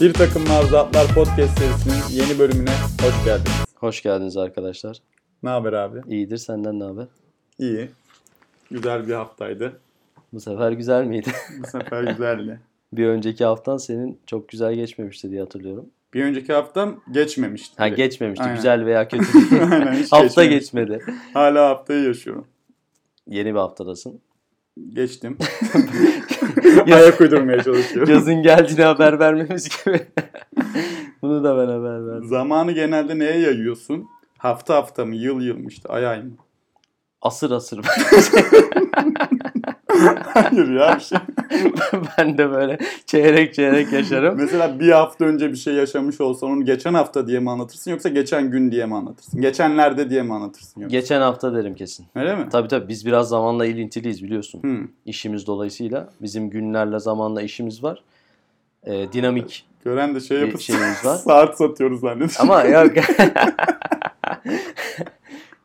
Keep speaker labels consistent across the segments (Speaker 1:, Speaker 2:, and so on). Speaker 1: Bir Takım Mavzatlar Podcast serisinin yeni bölümüne hoş geldiniz.
Speaker 2: Hoş geldiniz arkadaşlar.
Speaker 1: Ne haber abi?
Speaker 2: İyidir senden ne haber?
Speaker 1: İyi. Güzel bir haftaydı.
Speaker 2: Bu sefer güzel miydi?
Speaker 1: Bu sefer güzeldi.
Speaker 2: bir önceki haftan senin çok güzel geçmemişti diye hatırlıyorum.
Speaker 1: Bir önceki haftam geçmemişti.
Speaker 2: Ha geçmemişti.
Speaker 1: Aynen.
Speaker 2: Güzel veya kötü değil.
Speaker 1: Aynen, hiç
Speaker 2: Hafta
Speaker 1: geçmemiş.
Speaker 2: geçmedi.
Speaker 1: Hala haftayı yaşıyorum.
Speaker 2: Yeni bir haftadasın.
Speaker 1: Geçtim. Ayak uydurmaya çalışıyorum.
Speaker 2: Yazın geldiğine haber vermemiz gibi. Bunu da ben haber verdim.
Speaker 1: Zamanı genelde neye yayıyorsun? Hafta hafta mı? Yıl yıl mı? işte ay ay mı?
Speaker 2: Asır asır.
Speaker 1: Hayır ya. bir şey-
Speaker 2: ben de böyle çeyrek çeyrek yaşarım.
Speaker 1: Mesela bir hafta önce bir şey yaşamış olsan onu geçen hafta diye mi anlatırsın yoksa geçen gün diye mi anlatırsın? Geçenlerde diye mi anlatırsın? Yoksa?
Speaker 2: Geçen hafta derim kesin.
Speaker 1: Öyle mi?
Speaker 2: Tabii tabii biz biraz zamanla ilintiliyiz biliyorsun.
Speaker 1: Hı,
Speaker 2: İşimiz dolayısıyla bizim günlerle zamanla işimiz var. Ee, dinamik
Speaker 1: Gören de şey
Speaker 2: Bir
Speaker 1: yapıp
Speaker 2: şeyimiz var.
Speaker 1: saat satıyoruz zannediyor.
Speaker 2: Ama yok.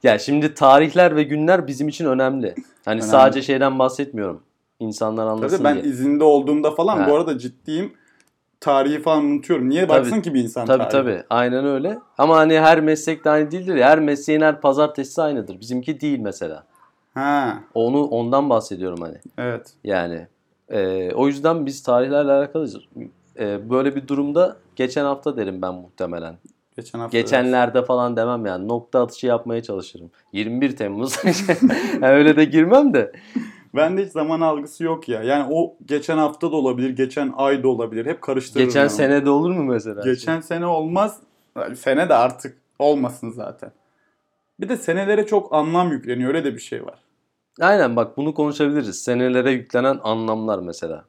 Speaker 2: ya şimdi tarihler ve günler bizim için önemli. Hani
Speaker 1: Önemli.
Speaker 2: sadece şeyden bahsetmiyorum. İnsanlar anlasın
Speaker 1: Tabii ben
Speaker 2: diye.
Speaker 1: izinde olduğumda falan
Speaker 2: Ha.
Speaker 1: bu arada ciddiyim. Tarihi falan unutuyorum. Niye
Speaker 2: Tabii.
Speaker 1: baksın ki bir insan
Speaker 2: Tabii
Speaker 1: tarihi?
Speaker 2: tabii. Aynen öyle. Ama hani her meslek de aynı değildir ya. Her mesleğin her pazartesi aynıdır. Bizimki değil mesela.
Speaker 1: Ha,
Speaker 2: Onu ondan bahsediyorum hani.
Speaker 1: evet.
Speaker 2: Yani e, o yüzden biz tarihlerle alakalıyız. E, böyle bir durumda geçen hafta derim ben muhtemelen.
Speaker 1: Geçen hafta.
Speaker 2: Geçenlerde falan demem yani. Nokta atışı yapmaya çalışırım. 21 Temmuz. Yani öyle de girmem de.
Speaker 1: Ben de hiç zaman algısı yok ya. Yani o geçen hafta da olabilir, geçen ay da olabilir. Hep karıştırırım.
Speaker 2: Geçen
Speaker 1: ben onu.
Speaker 2: sene de olur mu mesela?
Speaker 1: Geçen sene olmaz. Sene de artık olmasın zaten. Bir de senelere çok anlam yükleniyor. Öyle de bir şey var.
Speaker 2: Aynen bak bunu konuşabiliriz. Senelere yüklenen anlamlar mesela.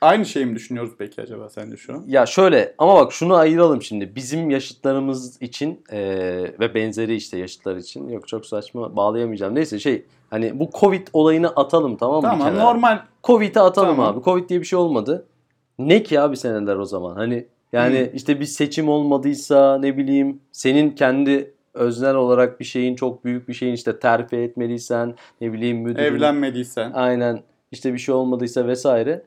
Speaker 1: Aynı şeyi mi düşünüyoruz peki acaba sence şu an?
Speaker 2: Ya şöyle ama bak şunu ayıralım şimdi. Bizim yaşıtlarımız için eee, ve benzeri işte yaşıtlar için. Yok çok saçma bağlayamayacağım. Neyse şey hani bu Covid olayını atalım tamam mı? bir
Speaker 1: Tamam
Speaker 2: kenara?
Speaker 1: normal.
Speaker 2: Covid'i atalım
Speaker 1: Tamam.
Speaker 2: abi. Covid diye bir şey olmadı. Ne ki abi seneler o zaman? Hani yani
Speaker 1: Hmm.
Speaker 2: işte bir seçim olmadıysa ne bileyim senin kendi öznel olarak bir şeyin çok büyük bir şeyin işte terfi etmeliysen ne bileyim müdürün
Speaker 1: Evlenmediysen.
Speaker 2: aynen işte bir şey olmadıysa vesaire.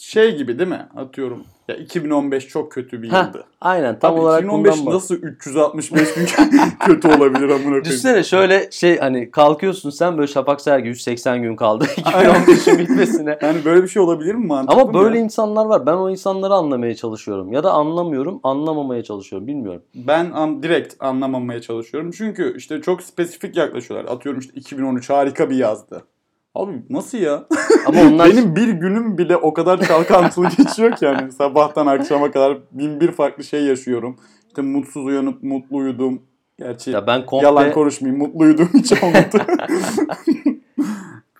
Speaker 1: Şey gibi değil mi? Atıyorum. Ya 2015 çok kötü bir
Speaker 2: Heh,
Speaker 1: yıldı.
Speaker 2: Aynen tam
Speaker 1: Tam Abi
Speaker 2: olarak
Speaker 1: 2015
Speaker 2: bundan bak.
Speaker 1: nasıl 365 gün kötü olabilir amına koyayım.
Speaker 2: Düşünsene şöyle şey hani kalkıyorsun sen böyle şafak sergi 180 gün kaldı 2015'in bitmesine.
Speaker 1: Yani böyle bir şey olabilir mi mantıklı
Speaker 2: Ama
Speaker 1: mı
Speaker 2: böyle
Speaker 1: ya?
Speaker 2: insanlar var. Ben o insanları anlamaya çalışıyorum. Ya da anlamıyorum, anlamamaya çalışıyorum. Bilmiyorum.
Speaker 1: Ben an- direkt anlamamaya çalışıyorum. Çünkü işte çok spesifik yaklaşıyorlar. Atıyorum işte 2013 harika bir yazdı. Abi nasıl ya?
Speaker 2: Ama onlar
Speaker 1: Benim bir günüm bile o kadar çalkantılı geçiyor ki yani sabahtan akşama kadar bin bir farklı şey yaşıyorum. İşte mutsuz uyanıp mutlu uyudum. Gerçi
Speaker 2: Ya ben komple
Speaker 1: yalan konuşmayayım mutlu uyudum hiç olmadı.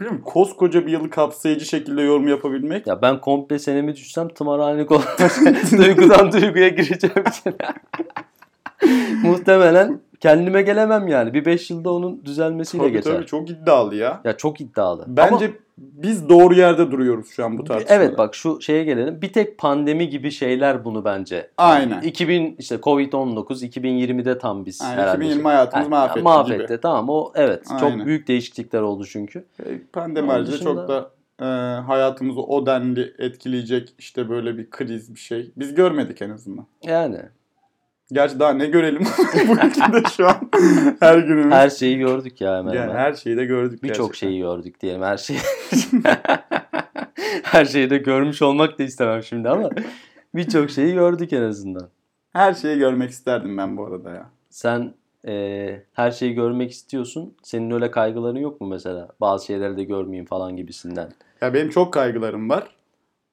Speaker 1: Bilmiyorum, koskoca bir yılı kapsayıcı şekilde yorum yapabilmek.
Speaker 2: ya ben komple senemi düşsem tımarhanelik olmaz. Duygudan duyguya gireceğim sene. Muhtemelen kendime gelemem yani. Bir 5 yılda onun düzelmesiyle
Speaker 1: Tabii
Speaker 2: geçer.
Speaker 1: tabii çok iddialı ya.
Speaker 2: Ya çok iddialı.
Speaker 1: Bence biz doğru yerde duruyoruz şu an bu
Speaker 2: Ama-
Speaker 1: tartışmada.
Speaker 2: evet bak şu şeye gelelim. Bir tek pandemi gibi şeyler bunu bence.
Speaker 1: Aynen.
Speaker 2: 2000 işte Covid-19 2020'de tam biz
Speaker 1: Yani
Speaker 2: herhalde. şey-
Speaker 1: 2020 hayatımız
Speaker 2: Ha,
Speaker 1: mahvetti,
Speaker 2: mahvetti. Tamam o evet
Speaker 1: Aynen.
Speaker 2: çok büyük değişiklikler oldu çünkü.
Speaker 1: gibi. E, Pandemi
Speaker 2: Onun
Speaker 1: haricinde
Speaker 2: dışında-
Speaker 1: çok da e, hayatımızı o denli etkileyecek işte böyle bir kriz bir şey. Biz görmedik en azından.
Speaker 2: Yani
Speaker 1: Gerçi daha ne görelim bu ülkede şu an her günümüz.
Speaker 2: her şeyi gördük ya hemen.
Speaker 1: yani
Speaker 2: hemen.
Speaker 1: her şeyi de gördük
Speaker 2: Birçok
Speaker 1: gerçekten.
Speaker 2: şeyi gördük diyelim her şeyi. her şeyi de görmüş olmak da istemem şimdi ama birçok şeyi gördük en azından.
Speaker 1: Her şeyi görmek isterdim ben bu arada ya.
Speaker 2: Sen eee, her şeyi görmek istiyorsun. Senin öyle kaygıların yok mu mesela? Bazı şeyleri de görmeyeyim falan gibisinden.
Speaker 1: Ya benim çok kaygılarım var.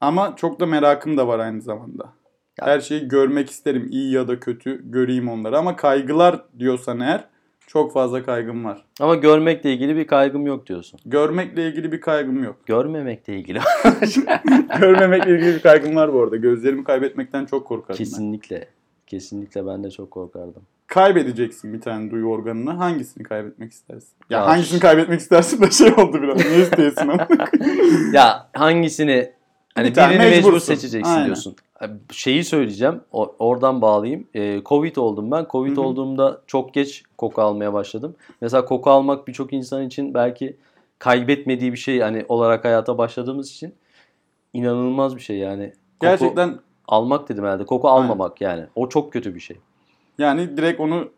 Speaker 1: Ama çok da merakım da var aynı zamanda.
Speaker 2: Ya-
Speaker 1: Her şeyi görmek isterim. iyi ya da kötü göreyim onları. Ama kaygılar diyorsan eğer çok fazla kaygım var.
Speaker 2: Ama görmekle ilgili bir kaygım yok diyorsun.
Speaker 1: Görmekle ilgili bir kaygım yok.
Speaker 2: Görmemekle ilgili
Speaker 1: Görmemekle ilgili bir kaygım var bu arada. Gözlerimi kaybetmekten çok korkarım ben.
Speaker 2: kesinlikle. Kesinlikle ben de çok korkardım.
Speaker 1: Kaybedeceksin bir tane duyu organını. Hangisini kaybetmek istersin? Ya,
Speaker 2: Ya
Speaker 1: hangisini kaybetmek istersin de şey oldu biraz. Ne istiyorsun ama?
Speaker 2: Ya hangisini hani
Speaker 1: Bir tane
Speaker 2: birini mecbur
Speaker 1: mecbursun.
Speaker 2: seçeceksin
Speaker 1: Aynen.
Speaker 2: diyorsun. Şeyi söyleyeceğim. o- Oradan bağlayayım. Ee, Covid oldum ben. Covid
Speaker 1: Hı hı.
Speaker 2: olduğumda çok geç koku almaya başladım. Mesela koku almak birçok insan için belki kaybetmediği bir şey hani olarak hayata başladığımız için inanılmaz bir şey yani. Koku-
Speaker 1: Gerçekten
Speaker 2: almak dedim herhalde. Koku almamak yani. O çok kötü bir şey.
Speaker 1: Yani direkt onu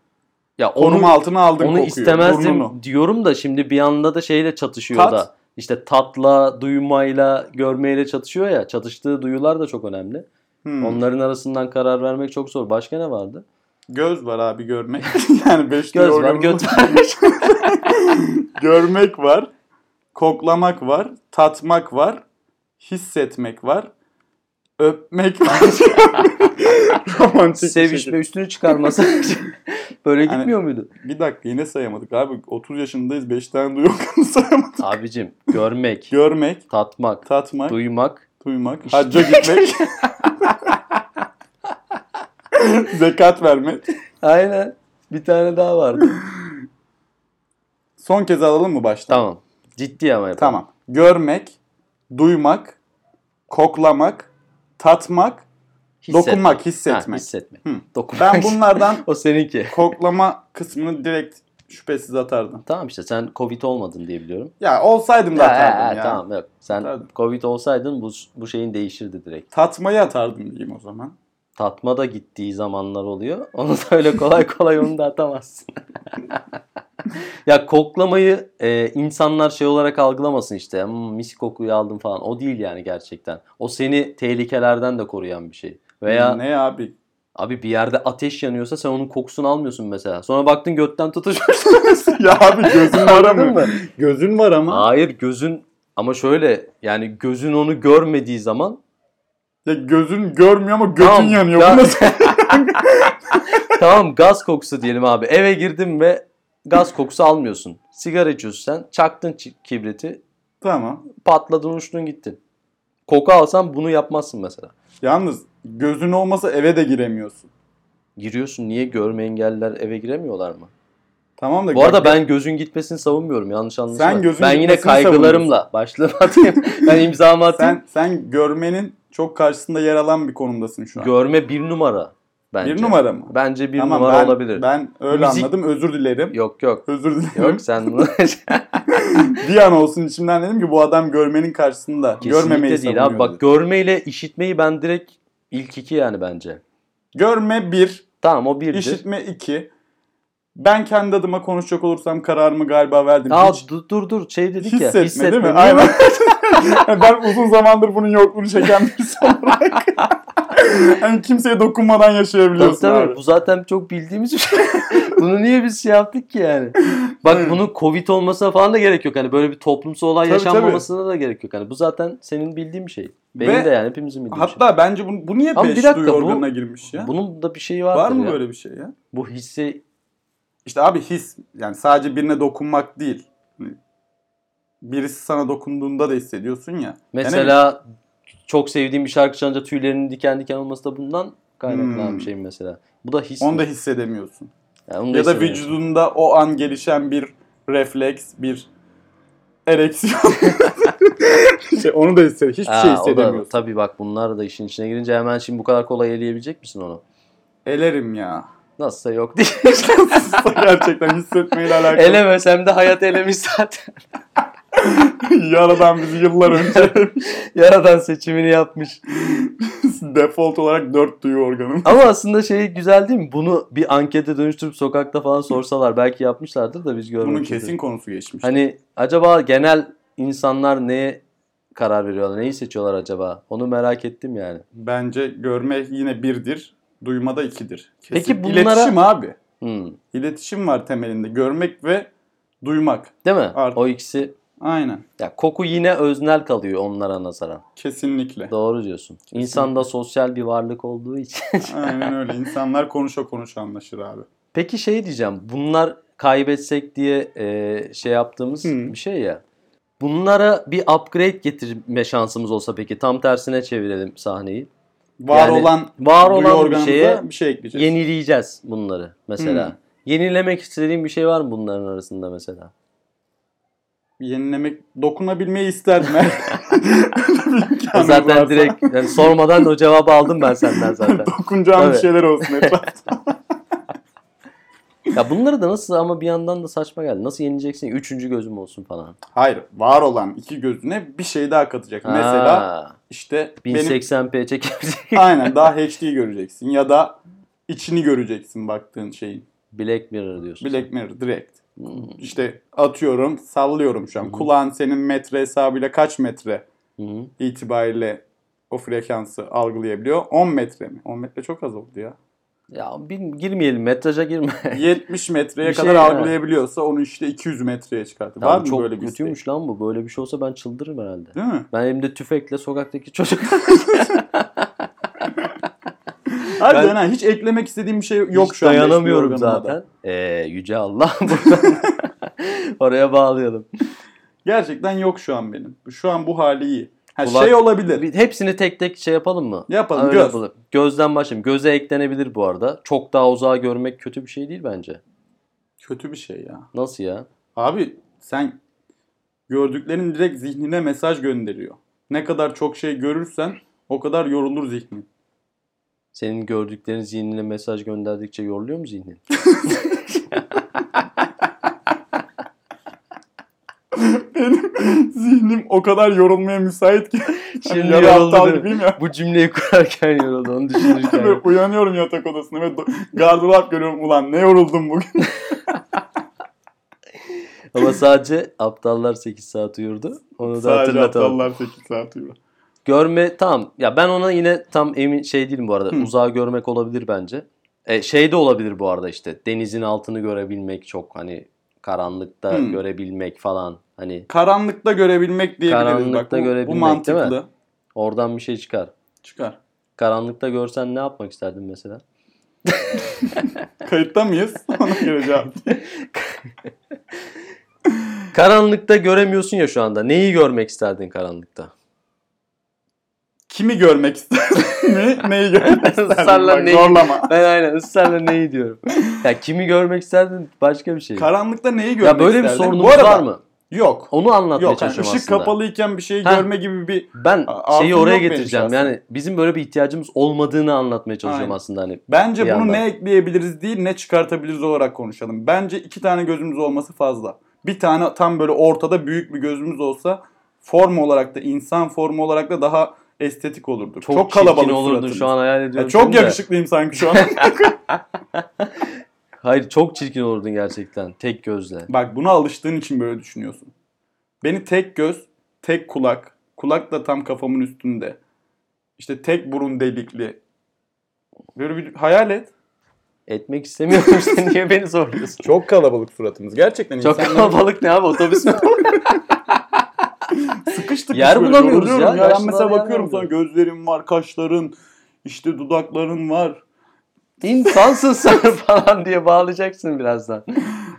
Speaker 2: Ya
Speaker 1: konum
Speaker 2: onu,
Speaker 1: altına aldın
Speaker 2: onu
Speaker 1: kokuyor.
Speaker 2: istemezdim
Speaker 1: Burnunu.
Speaker 2: diyorum da şimdi bir anda da şeyle çatışıyor
Speaker 1: Tat.
Speaker 2: da. İşte tatla, duymayla, görmeyle çatışıyor ya. Çatıştığı duyular da çok önemli.
Speaker 1: Hmm.
Speaker 2: Onların arasından karar vermek çok zor. Başka ne vardı?
Speaker 1: Göz var abi görmek. yani beş duyu
Speaker 2: Göz var,
Speaker 1: organımız-
Speaker 2: göt
Speaker 1: Görmek var. Koklamak var. Tatmak var. Hissetmek var. Öpmek var. Romantik bir şekilde.
Speaker 2: Sevişme üstünü çıkarması. Böyle
Speaker 1: Yani-
Speaker 2: gitmiyor muydu?
Speaker 1: Bir dakika yine sayamadık abi. 30 yaşındayız 5 tane duyu organı sayamadık.
Speaker 2: Abicim görmek,
Speaker 1: Görmek,
Speaker 2: tatmak,
Speaker 1: tatmak,
Speaker 2: duymak.
Speaker 1: duymak, hacca gitmek. Zekat vermek.
Speaker 2: Aynen. Bir tane daha vardı.
Speaker 1: Son kez alalım mı baştan?
Speaker 2: tamam. Ciddi ama yapalım.
Speaker 1: Tamam. Görmek, duymak, koklamak, tatmak,
Speaker 2: Hissetmek.
Speaker 1: dokunmak,
Speaker 2: Ha,
Speaker 1: hissetmek.
Speaker 2: hissetmek.
Speaker 1: Hı.
Speaker 2: Dokunmak.
Speaker 1: ben bunlardan
Speaker 2: o seninki.
Speaker 1: koklama kısmını direkt şüphesiz atardım.
Speaker 2: Tamam işte sen Covid olmadın diye biliyorum.
Speaker 1: Ya olsaydım da
Speaker 2: Ha, ha,
Speaker 1: atardım
Speaker 2: ha,
Speaker 1: ya.
Speaker 2: e, Tamam yok. Sen
Speaker 1: Atardım.
Speaker 2: Covid olsaydın bu bu şeyin değişirdi direkt.
Speaker 1: Tatmayı atardım diyeyim o zaman.
Speaker 2: Tatma da gittiği zamanlar oluyor. Onu da öyle kolay kolay onu da atamazsın. ya koklamayı e, insanlar şey olarak algılamasın işte. Hmm, mis kokuyu aldım falan. O değil yani gerçekten. O seni tehlikelerden de koruyan bir şey. Veya
Speaker 1: Hmm, Ne abi?
Speaker 2: abi bir yerde ateş yanıyorsa sen onun kokusunu almıyorsun mesela. Sonra baktın götten tutuşmuş.
Speaker 1: ya abi gözün var
Speaker 2: Anladın
Speaker 1: ama.
Speaker 2: mı?
Speaker 1: Gözün var ama.
Speaker 2: Hayır gözün ama şöyle yani gözün onu görmediği zaman
Speaker 1: Ya gözün görmüyor ama götün
Speaker 2: Tamam,
Speaker 1: yanıyor.
Speaker 2: ya-
Speaker 1: Bu nasıl?
Speaker 2: tamam gaz kokusu diyelim abi eve girdim ve gaz kokusu almıyorsun. Sigara içiyorsun sen çaktın çi- kibriti
Speaker 1: tamam.
Speaker 2: patladın uçtun gittin. Koku alsan bunu yapmazsın mesela.
Speaker 1: Yalnız gözün olmasa eve de giremiyorsun.
Speaker 2: Giriyorsun niye görme engelliler eve giremiyorlar mı?
Speaker 1: Tamam da
Speaker 2: Bu arada ben gözün gitmesini savunmuyorum yanlış anlaşılma.
Speaker 1: Sen gözün
Speaker 2: ben yine
Speaker 1: gitmesini
Speaker 2: kaygılarımla başlığımı atayım. ben imzamı atayım.
Speaker 1: sen sen görmenin çok karşısında yer alan bir konumdasın şu an.
Speaker 2: Görme bir numara bence.
Speaker 1: Bir numara mı?
Speaker 2: Bence bir
Speaker 1: Tamam,
Speaker 2: numara
Speaker 1: ben,
Speaker 2: olabilir.
Speaker 1: Ben öyle
Speaker 2: Müzik-
Speaker 1: anladım. Özür dilerim.
Speaker 2: Yok yok.
Speaker 1: Özür dilerim.
Speaker 2: Yok sen bunu
Speaker 1: bir an olsun içimden dedim ki bu adam görmenin karşısında. görmemeyi
Speaker 2: Kesinlikle değil abi.
Speaker 1: savunuyor
Speaker 2: Bak
Speaker 1: dedi.
Speaker 2: görmeyle işitmeyi ben direkt ilk iki yani bence.
Speaker 1: Görme bir,
Speaker 2: Tamam o birdir.
Speaker 1: işitme iki. Ben kendi adıma konuşacak olursam kararımı galiba verdim.
Speaker 2: Aa,
Speaker 1: Hiç
Speaker 2: dur, dur dur şey dedik
Speaker 1: hissetme,
Speaker 2: ya.
Speaker 1: değil mi?
Speaker 2: hissetme.
Speaker 1: Aynen. ben uzun zamandır bunun yokluğunu çeken birisi olarak. hani kimseye dokunmadan
Speaker 2: Tabii
Speaker 1: yaşayabiliyorsun
Speaker 2: tabii
Speaker 1: abi.
Speaker 2: bu zaten çok bildiğimiz bir şey. Bunu niye biz şey yaptık ki yani? Bak bunun Covid olmasına falan da gerek yok. Hani böyle bir toplumsal olay
Speaker 1: Tabii,
Speaker 2: yaşanmamasına da gerek yok. Hani bu zaten senin bildiğin bir şey. Benim
Speaker 1: Ve
Speaker 2: de yani hepimizin bildiği bir şey.
Speaker 1: Hatta bence bu, bu niye
Speaker 2: Ama bir
Speaker 1: beş
Speaker 2: dakika,
Speaker 1: duyu
Speaker 2: bu-
Speaker 1: organına girmiş ya?
Speaker 2: Bunun da bir şeyi
Speaker 1: Var
Speaker 2: vardır
Speaker 1: mı
Speaker 2: ya.
Speaker 1: böyle bir şey ya?
Speaker 2: Bu hissi
Speaker 1: İşte abi his yani sadece birine dokunmak değil. Hani Birisi sana dokunduğunda da hissediyorsun ya.
Speaker 2: Mesela çok sevdiğim bir şarkı çalınca tüylerinin diken diken olması da bundan kaynaklanan
Speaker 1: Hmm.
Speaker 2: bir şey mesela. Bu da his.
Speaker 1: Yani onu da
Speaker 2: mi?
Speaker 1: hissedemiyorsun.
Speaker 2: Yani onu
Speaker 1: ya da
Speaker 2: hissediyorum.
Speaker 1: vücudunda o an gelişen bir refleks, bir ereksiyon. şey, onu da hissediyorsun. Hiçbir
Speaker 2: Aa,
Speaker 1: şey
Speaker 2: o da-
Speaker 1: hissedemiyorsun.
Speaker 2: Tabii bak bunlar da işin içine girince hemen şimdi bu kadar kolay eleyebilecek misin onu?
Speaker 1: Elerim ya.
Speaker 2: Nasılsa yok değil.
Speaker 1: Gerçekten hissetmeyle alakalı.
Speaker 2: Elemesem de hayat elemiş zaten.
Speaker 1: Yaradan bizi yıllar önce
Speaker 2: Yaradan seçimini yapmış.
Speaker 1: default olarak dört duyu organım.
Speaker 2: Ama aslında şey güzel değil mi? Bunu bir ankete dönüştürüp sokakta falan sorsalar belki yapmışlardır da biz
Speaker 1: Bunun
Speaker 2: görmemişiz.
Speaker 1: kesin konusu geçmiş.
Speaker 2: Hani acaba genel insanlar neye karar veriyorlar? Neyi seçiyorlar acaba? Onu merak ettim yani.
Speaker 1: Bence görme yine birdir, duyma da ikidir. Kesin.
Speaker 2: Peki bunlara-
Speaker 1: İletişim abi.
Speaker 2: Hmm.
Speaker 1: İletişim var temelinde. Görmek ve duymak.
Speaker 2: Değil mi?
Speaker 1: Artık.
Speaker 2: O ikisi
Speaker 1: Aynen.
Speaker 2: ya koku yine öznel kalıyor onlara nazaran.
Speaker 1: Kesinlikle.
Speaker 2: Doğru diyorsun. İnsan da sosyal bir varlık olduğu için.
Speaker 1: Aynen öyle. İnsanlar konuşa konuşa anlaşır abi.
Speaker 2: Peki şey diyeceğim. Bunlar kaybetsek diye e, şey yaptığımız
Speaker 1: Hı.
Speaker 2: bir şey ya. Bunlara bir upgrade getirme şansımız olsa peki tam tersine çevirelim sahneyi.
Speaker 1: Var
Speaker 2: Yani
Speaker 1: olan
Speaker 2: Var
Speaker 1: duyu
Speaker 2: olan bir
Speaker 1: organımıza
Speaker 2: şeye
Speaker 1: bir şey ekleyeceğiz.
Speaker 2: yenileyeceğiz bunları mesela.
Speaker 1: Hı.
Speaker 2: Yenilemek istediğin bir şey var mı bunların arasında mesela?
Speaker 1: Yenilemek, dokunabilmeyi isterdim. Öyle bir
Speaker 2: O
Speaker 1: imkanım
Speaker 2: zaten
Speaker 1: varsa.
Speaker 2: direkt yani sormadan o cevabı aldım ben senden zaten.
Speaker 1: Dokunacağım bir
Speaker 2: Tabii.
Speaker 1: şeyler olsun etrafta.
Speaker 2: Ya bunları da nasıl ama bir yandan da saçma geldi. Nasıl yenileceksin? Üçüncü gözüm olsun falan.
Speaker 1: Hayır var olan iki gözüne bir şey daha katacak. Mesela
Speaker 2: Ha,
Speaker 1: işte benim
Speaker 2: 1080p çekebilecek.
Speaker 1: aynen daha HD göreceksin ya da içini göreceksin baktığın şeyin.
Speaker 2: Black Mirror diyorsun.
Speaker 1: Black Mirror direkt.
Speaker 2: Hmm.
Speaker 1: İşte atıyorum sallıyorum şu
Speaker 2: Hı
Speaker 1: an.
Speaker 2: hı.
Speaker 1: Kulağın senin metre hesabıyla kaç metre
Speaker 2: Hı hı.
Speaker 1: itibariyle o frekansı algılayabiliyor? 10 metre mi? 10 metre çok az oldu ya.
Speaker 2: Ya bin, girmeyelim metraja girme.
Speaker 1: 70 metreye
Speaker 2: Bir şey
Speaker 1: kadar
Speaker 2: ya.
Speaker 1: algılayabiliyorsa onu işte 200 metreye çıkartır. Var
Speaker 2: Abi
Speaker 1: mı
Speaker 2: çok
Speaker 1: böyle bir istek?
Speaker 2: kötüymüş lan bu. Böyle bir şey olsa ben çıldırırım herhalde.
Speaker 1: Değil mi?
Speaker 2: Ben elimde tüfekle sokaktaki çocuk.
Speaker 1: Harbiden ha, hiç eklemek istediğim bir şey yok
Speaker 2: Hiç
Speaker 1: şu an.
Speaker 2: dayanamıyorum
Speaker 1: resmi organıma da.
Speaker 2: zaten. Ee, yüce Allah buradan oraya bağlayalım.
Speaker 1: Gerçekten yok şu an benim. Şu an bu hali iyi. Ha,
Speaker 2: Kulak-
Speaker 1: Şey olabilir.
Speaker 2: Bir- Hepsini tek tek şey yapalım mı?
Speaker 1: Yapalım,
Speaker 2: Öyle
Speaker 1: göz.
Speaker 2: yapalım. Gözden başlayalım. Göze eklenebilir bu arada. Çok daha uzağa görmek kötü bir şey değil bence.
Speaker 1: Kötü bir şey ya.
Speaker 2: Nasıl ya?
Speaker 1: Abi sen gördüklerin direkt zihnine mesaj gönderiyor. Ne kadar çok şey görürsen o kadar yorulur zihnin.
Speaker 2: Senin gördüklerin zihnine mesaj gönderdikçe yoruluyor mu zihnin?
Speaker 1: Zihnim o kadar yorulmaya müsait ki.
Speaker 2: Şimdi
Speaker 1: Hani yarı
Speaker 2: yoruldu
Speaker 1: aptal
Speaker 2: değil mi?
Speaker 1: gibiyim ya.
Speaker 2: Bu cümleyi kurarken yoruldu onu
Speaker 1: Ve
Speaker 2: düşünürken.
Speaker 1: uyanıyorum yatak odasında ve do- gardırop görüyorum. Ulan ne yoruldum bugün.
Speaker 2: Ama sadece aptallar 8 saat uyurdu. Onu da
Speaker 1: Sadece
Speaker 2: hatırlatalım.
Speaker 1: aptallar 8 saat uyuyor.
Speaker 2: Görme tam. Ya ben ona yine tam emin şey değilim bu arada.
Speaker 1: Hı.
Speaker 2: Uzağa görmek olabilir bence. E, şey de olabilir bu arada işte. Denizin altını görebilmek çok hani karanlıkta
Speaker 1: Hı.
Speaker 2: görebilmek falan. Hani
Speaker 1: Karanlıkta görebilmek diyebiliriz. Bak,
Speaker 2: Karanlıkta
Speaker 1: bu, bu
Speaker 2: görebilmek,
Speaker 1: mantıklı.
Speaker 2: değil oradan bir şey çıkar.
Speaker 1: Çıkar.
Speaker 2: Karanlıkta görsen ne yapmak isterdin mesela?
Speaker 1: Kayıtta mıyız? Ona göre cevap.
Speaker 2: Karanlıkta göremiyorsun ya şu anda. Neyi görmek isterdin karanlıkta?
Speaker 1: Kimi görmek isterdin mi? Neyi görmek isterdin?
Speaker 2: Sarla
Speaker 1: Bak,
Speaker 2: neyi?
Speaker 1: zorlama.
Speaker 2: Ben aynen ısrarla neyi diyorum. ya kimi görmek isterdin başka bir şey.
Speaker 1: Karanlıkta neyi görmek
Speaker 2: ya böyle bir
Speaker 1: isterdin?
Speaker 2: sorunumuz
Speaker 1: Bu arada-
Speaker 2: var mı?
Speaker 1: Yok.
Speaker 2: Onu anlatmaya
Speaker 1: Yok. Yani
Speaker 2: çalışıyorum
Speaker 1: ışık
Speaker 2: aslında.
Speaker 1: kapalıyken bir şeyi
Speaker 2: Heh.
Speaker 1: görme gibi bir...
Speaker 2: Ben
Speaker 1: A-
Speaker 2: şeyi
Speaker 1: altın
Speaker 2: oraya
Speaker 1: yok benim
Speaker 2: getireceğim.
Speaker 1: şahsen.
Speaker 2: Yani bizim böyle bir ihtiyacımız olmadığını anlatmaya çalışıyorum
Speaker 1: Aynen.
Speaker 2: aslında hani.
Speaker 1: Bence
Speaker 2: Bir
Speaker 1: bunu
Speaker 2: yandan.
Speaker 1: ne ekleyebiliriz değil ne çıkartabiliriz olarak konuşalım. Bence iki tane gözümüz olması fazla. Bir tane tam böyle ortada büyük bir gözümüz olsa form olarak da insan formu olarak da daha estetik olurdu. Çok,
Speaker 2: çirkin
Speaker 1: kalabalık
Speaker 2: olurdu
Speaker 1: suratımız.
Speaker 2: şu an hayal
Speaker 1: Ya
Speaker 2: ediyorum.
Speaker 1: çok
Speaker 2: şimdi de.
Speaker 1: yakışıklıyım sanki şu an.
Speaker 2: Hayır çok çirkin olurdun gerçekten tek gözle.
Speaker 1: Bak buna alıştığın için böyle düşünüyorsun. Beni tek göz, tek kulak, kulak da tam kafamın üstünde. İşte tek burun delikli. Böyle bir hayal et.
Speaker 2: Etmek istemiyorum işte niye beni zorluyorsun?
Speaker 1: Çok kalabalık suratımız. Gerçekten
Speaker 2: Çok kalabalık ne abi otobüs mü?
Speaker 1: sıkıştık.
Speaker 2: Yer
Speaker 1: biz böyle,
Speaker 2: bulamıyoruz
Speaker 1: yoruluyorum
Speaker 2: ya.
Speaker 1: Ben
Speaker 2: Yaşlılar
Speaker 1: mesela
Speaker 2: yer
Speaker 1: bakıyorum
Speaker 2: bulamıyor.
Speaker 1: sonra gözlerim var, kaşların, işte dudakların var.
Speaker 2: İnsansın sen falan diye bağlayacaksın birazdan.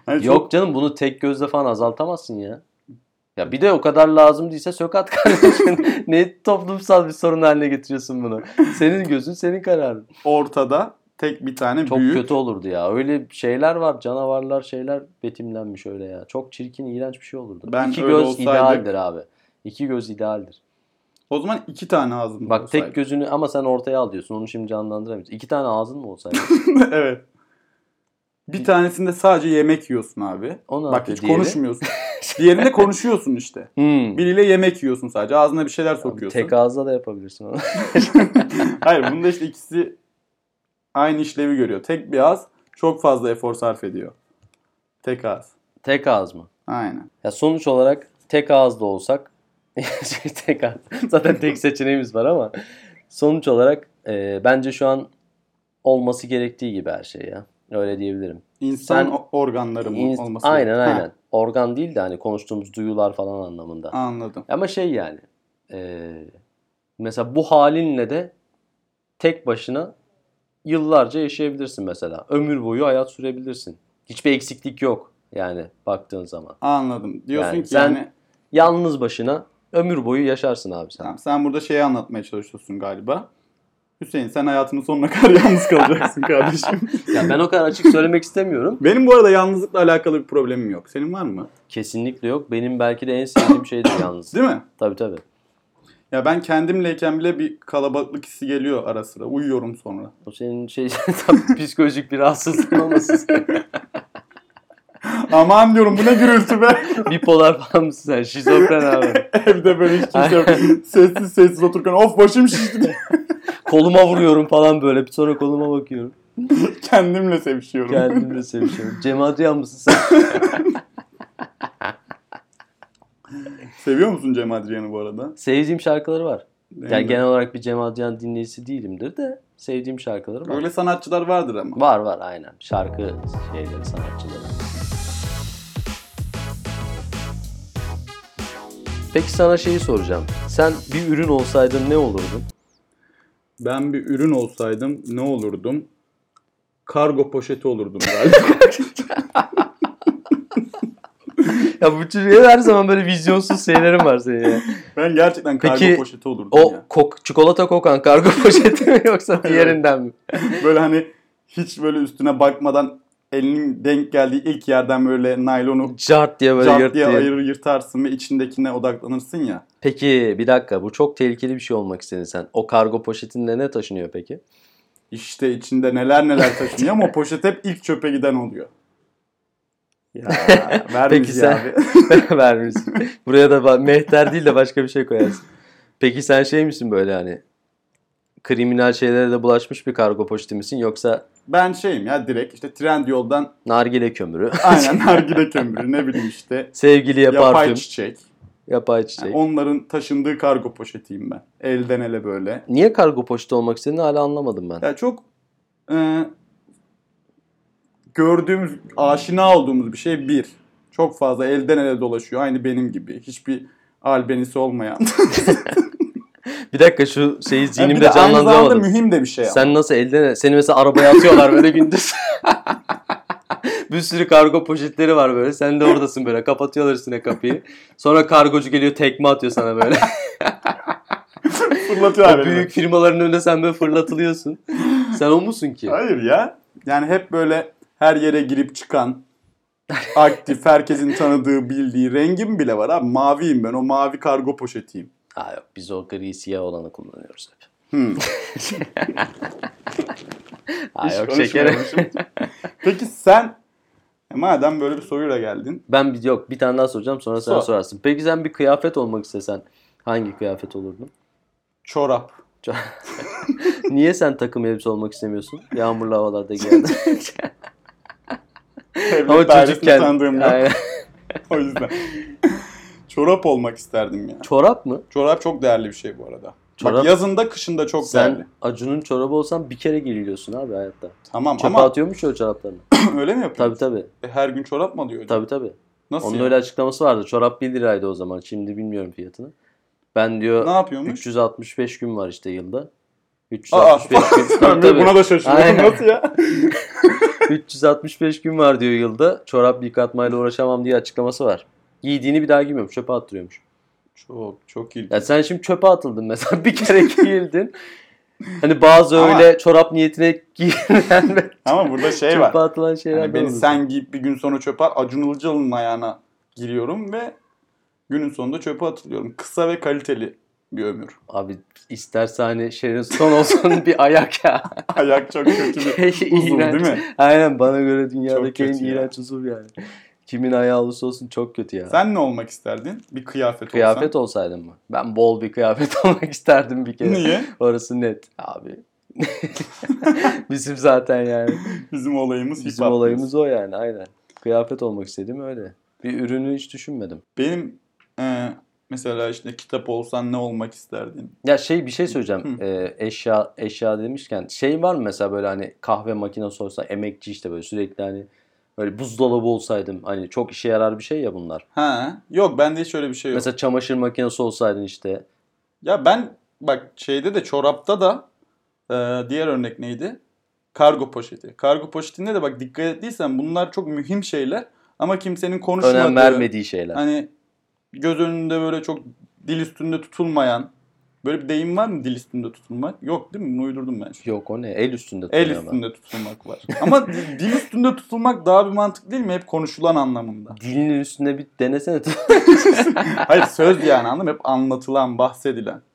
Speaker 1: Hani çok-
Speaker 2: Yok canım bunu tek gözle falan azaltamazsın ya. Ya bir de o kadar lazım değilse sök at kardeşim. ne toplumsal bir sorun haline getiriyorsun bunu. Senin gözün senin kararın.
Speaker 1: ortada tek bir tane
Speaker 2: Çok
Speaker 1: büyük.
Speaker 2: kötü olurdu ya. Öyle şeyler var. Canavarlar şeyler betimlenmiş öyle ya. Çok çirkin, iğrenç bir şey olurdu.
Speaker 1: Ben
Speaker 2: İki
Speaker 1: öyle
Speaker 2: göz
Speaker 1: olsaydı-
Speaker 2: idealdir abi. İki göz idealdir.
Speaker 1: O zaman iki tane ağzım
Speaker 2: Bak tek
Speaker 1: olsaydı.
Speaker 2: gözünü ama sen ortaya al diyorsun. Onu şimdi canlandıramayız. İki tane ağzın mı olsaydı?
Speaker 1: evet. Bir tanesinde sadece yemek yiyorsun abi.
Speaker 2: O ne
Speaker 1: Bak
Speaker 2: yapıyor
Speaker 1: hiç
Speaker 2: diğeri?
Speaker 1: konuşmuyorsun. Diğerinde konuşuyorsun işte.
Speaker 2: Hmm.
Speaker 1: Biriyle yemek yiyorsun sadece. Ağzına bir şeyler sokuyorsun.
Speaker 2: Tek ağızla da yapabilirsin onu.
Speaker 1: Hayır bunda işte ikisi aynı işlevi görüyor. Tek bir ağız çok fazla efor sarf ediyor. Tek ağız.
Speaker 2: tek ağız mı?
Speaker 1: Aynen.
Speaker 2: Ya sonuç olarak tek ağızda olsak şey tek ağız. Zaten tek seçeneğimiz var ama sonuç olarak e, bence şu an olması gerektiği gibi her şey ya. Öyle diyebilirim.
Speaker 1: İnsan
Speaker 2: Sen-
Speaker 1: o- organları mı
Speaker 2: İns-
Speaker 1: olması?
Speaker 2: aynen
Speaker 1: Ha,
Speaker 2: aynen. Organ değil de hani konuştuğumuz duyular falan anlamında.
Speaker 1: anladım.
Speaker 2: Ama şey yani e, mesela bu halinle de tek başına yıllarca yaşayabilirsin mesela. Ömür boyu hayat sürebilirsin. Hiçbir eksiklik yok yani baktığın zaman.
Speaker 1: Anladım. Diyorsun
Speaker 2: Yani
Speaker 1: ki
Speaker 2: sen-
Speaker 1: yani
Speaker 2: Yalnız başına ömür boyu yaşarsın abi sen.
Speaker 1: tamam, sen burada şeyi anlatmaya çalışıyorsun galiba. Hüseyin sen hayatının sonuna kadar yalnız kalacaksın kardeşim.
Speaker 2: Ya ben o kadar açık söylemek istemiyorum.
Speaker 1: Benim bu arada yalnızlıkla alakalı bir problemim yok. Senin var mı?
Speaker 2: Kesinlikle yok. Benim belki de en sevdiğim şey de yalnız.
Speaker 1: Değil mi?
Speaker 2: Tabii tabii.
Speaker 1: Ya ben kendimleyken bile bir kalabalık hissi geliyor ara sıra. Uyuyorum sonra.
Speaker 2: O senin şey tabii psikolojik bir rahatsızlığın olmasın.
Speaker 1: Aman diyorum bu ne gürültü be.
Speaker 2: Bipolar falan mısın sen? Şizofren abi.
Speaker 1: Evde böyle hiç kimse yok. Sessiz sessiz otururken of başım şişti diye
Speaker 2: Koluma vuruyorum falan böyle. Bir sonra koluma bakıyorum.
Speaker 1: kendimle sevişiyorum.
Speaker 2: Kendimle sevişiyorum. Cem Adrian mısın sen?
Speaker 1: Seviyor musun Cem Adrian'ı bu arada?
Speaker 2: Sevdiğim şarkıları var. Yani
Speaker 1: Benim de.
Speaker 2: genel olarak bir Cem Adrian dinleyicisi değilimdir de sevdiğim şarkıları var.
Speaker 1: Öyle sanatçılar vardır ama.
Speaker 2: Var var aynen. Şarkı şeyleri, sanatçıları. Peki sana şeyi soracağım. Sen bir ürün olsaydın ne olurdun?
Speaker 1: Ben bir ürün olsaydım ne olurdum? Kargo poşeti olurdum galiba.
Speaker 2: Ya bu çocuğa her zaman böyle vizyonsuz şeylerim var senin ya.
Speaker 1: ben gerçekten kargo
Speaker 2: Peki,
Speaker 1: poşeti olurdum
Speaker 2: O
Speaker 1: ya.
Speaker 2: kok, çikolata kokan kargo poşeti mi yoksa diğerinden mi?
Speaker 1: Böyle hani hiç böyle üstüne bakmadan elinin denk geldiği ilk yerden böyle naylonu
Speaker 2: Cart diye böyle
Speaker 1: cart
Speaker 2: yırt
Speaker 1: diye
Speaker 2: diye.
Speaker 1: ayırır yırtarsın ve içindekine odaklanırsın ya.
Speaker 2: Peki bir dakika bu çok tehlikeli bir şey olmak istedin sen. O kargo poşetinde ne taşınıyor peki?
Speaker 1: İşte içinde neler neler taşınıyor ama o poşet hep ilk çöpe giden oluyor. Ya vermiş
Speaker 2: Peki sen-
Speaker 1: abi.
Speaker 2: Vermişsin. Buraya da ba- mehter değil de başka bir şey koyarsın. Peki sen şey misin böyle hani kriminal şeylere de bulaşmış bir kargo poşeti misin yoksa
Speaker 1: Ben şeyim ya direkt işte trend yoldan
Speaker 2: nargile kömürü,
Speaker 1: aynen nargile kömürü ne bileyim işte
Speaker 2: sevgiliye
Speaker 1: yapay
Speaker 2: parfüm,
Speaker 1: çiçek.
Speaker 2: yapay
Speaker 1: Yani
Speaker 2: çiçek.
Speaker 1: onların taşındığı kargo poşetiyim ben. Elden ele böyle.
Speaker 2: Niye kargo poşeti olmak istediğini hala anlamadım ben.
Speaker 1: Ya çok e, gördüğümüz, aşina olduğumuz bir şey bir. Çok fazla elden ele dolaşıyor. Aynı benim gibi. Hiçbir albenisi olmayan.
Speaker 2: Bir dakika şu şeyi
Speaker 1: Yani bir
Speaker 2: zihnimde
Speaker 1: de aynı zamanda
Speaker 2: canlandıramadım.
Speaker 1: mühim de bir şey. ama.
Speaker 2: Sen nasıl elden seni mesela arabaya atıyorlar böyle gündüz. bir sürü kargo poşetleri var böyle. Sen de oradasın böyle. Kapatıyorlar üstüne kapıyı. Sonra kargocu geliyor tekme atıyor sana böyle.
Speaker 1: Fırlatıyor
Speaker 2: O
Speaker 1: albenini.
Speaker 2: büyük firmaların önünde sen böyle fırlatılıyorsun. sen o musun ki?
Speaker 1: Hayır ya. Yani hep böyle her yere girip çıkan aktif, herkesin tanıdığı, bildiği rengim bile var abi. Maviyim ben. O mavi kargo poşetiyim.
Speaker 2: Ha yok biz o gri siyah olanı kullanıyoruz hep.
Speaker 1: Hmm.
Speaker 2: Ha
Speaker 1: Hiç
Speaker 2: yok şekerim.
Speaker 1: konuşmamışım. Peki sen e, madem böyle bir soruyla geldin.
Speaker 2: Ben bir, yok bir tane daha soracağım sonra sen
Speaker 1: Sor.
Speaker 2: sorarsın. Peki sen bir kıyafet olmak istesen hangi kıyafet olurdun?
Speaker 1: Çorap.
Speaker 2: Niye sen takım elbise olmak istemiyorsun? Yağmurlu havalarda geldi.
Speaker 1: Devlet
Speaker 2: Ama
Speaker 1: dairesini
Speaker 2: çocukken.
Speaker 1: tanıdığım yok.
Speaker 2: Aynen.
Speaker 1: O yüzden. Çorap olmak isterdim ya.
Speaker 2: Çorap mı?
Speaker 1: Çorap çok değerli bir şey bu arada.
Speaker 2: Çorap-
Speaker 1: Bak yazında kışında çok
Speaker 2: Sen
Speaker 1: değerli.
Speaker 2: Acun'un çorabı olsan bir kere giyiliyorsun abi hayatta.
Speaker 1: Tamam
Speaker 2: Çöpe
Speaker 1: ama
Speaker 2: atıyormuş ya o çoraplarını.
Speaker 1: öyle mi
Speaker 2: tabii
Speaker 1: yapıyor?
Speaker 2: tabii.
Speaker 1: E, her gün çorap mı alıyor?
Speaker 2: Tabii tabii.
Speaker 1: Nasıl
Speaker 2: Onun
Speaker 1: ya?
Speaker 2: öyle açıklaması vardı. Çorap 1 liraydı o zaman. Şimdi bilmiyorum fiyatını. Ben diyor
Speaker 1: Ne yapıyormuş?
Speaker 2: 365 gün var işte yılda.
Speaker 1: Aa,
Speaker 2: 365 gün.
Speaker 1: Ben
Speaker 2: Tabii,
Speaker 1: de
Speaker 2: tabii.
Speaker 1: buna da şaşırdım.
Speaker 2: Aynen.
Speaker 1: Nasıl ya?
Speaker 2: 365 gün var diyor yılda. Çorap yıkatmayla uğraşamam diye açıklaması var. Giydiğini bir daha giymiyormuş. Çöpe attırıyormuş.
Speaker 1: Çok çok ilginç.
Speaker 2: Ya sen şimdi çöpe atıldın mesela. Bir kere giyildin. Hani bazı
Speaker 1: Ama-
Speaker 2: öyle çorap niyetine giyilen ve
Speaker 1: Ama burada şey var.
Speaker 2: çöpe atılan şeyler
Speaker 1: Hani
Speaker 2: de
Speaker 1: beni
Speaker 2: olur.
Speaker 1: sen giyip bir gün sonra çöpe at. Acun Ilıcalı'nın ayağına giriyorum ve günün sonunda çöpe atılıyorum. Kısa ve kaliteli bir ömür.
Speaker 2: Abi isterse hani Sharon Stone olsun bir ayak ya.
Speaker 1: Ayak çok kötü bir uzuv
Speaker 2: İğrenç.
Speaker 1: değil mi?
Speaker 2: Aynen bana göre dünyadaki en
Speaker 1: kötü ya.
Speaker 2: iğrenç usul yani. Kimin ayağı olursa olsun çok kötü ya.
Speaker 1: Sen ne olmak isterdin? Bir kıyafet,
Speaker 2: kıyafet olsaydın mı? Ben bol bir kıyafet olmak isterdim bir
Speaker 1: olsan.
Speaker 2: kere.
Speaker 1: Niye?
Speaker 2: Orası net abi. Bizim zaten yani.
Speaker 1: Bizim olayımız hip
Speaker 2: Bizim
Speaker 1: hop.
Speaker 2: olayımız o yani aynen. Kıyafet olmak istedim öyle. Bir ürünü hiç düşünmedim.
Speaker 1: Benim e, mesela işte kitap olsan ne olmak isterdin?
Speaker 2: Ya şey bir şey söyleyeceğim. Ee, eşya eşya demişken şey var mı mesela böyle hani kahve makinesi olsa emekçi işte böyle sürekli hani böyle buzdolabı olsaydım hani çok işe yarar bir şey ya bunlar.
Speaker 1: Ha? Yok bende hiç öyle bir şey yok.
Speaker 2: Mesela çamaşır makinesi olsaydın işte.
Speaker 1: Ya ben bak şeyde de çorapta da e, diğer örnek neydi? Kargo poşeti. Kargo poşetinde de bak dikkat ettiysen bunlar çok mühim şeyler ama kimsenin konuşmadığı,
Speaker 2: Önem vermediği şeyler.
Speaker 1: hani göz önünde böyle çok dil üstünde tutulmayan böyle bir deyim var mı dil üstünde tutulmak? Yok değil mi? Bunu uydurdum ben. Şimdi.
Speaker 2: Yok o ne? El üstünde
Speaker 1: El
Speaker 2: tutuyor ama.
Speaker 1: üstünde tutulmak var. Ama di- dil üstünde tutulmak daha bir mantık değil mi? Hep konuşulan anlamında.
Speaker 2: Dilinin üstünde bir denesene.
Speaker 1: Hayır söz yani anladın mı? Hep anlatılan, bahsedilen.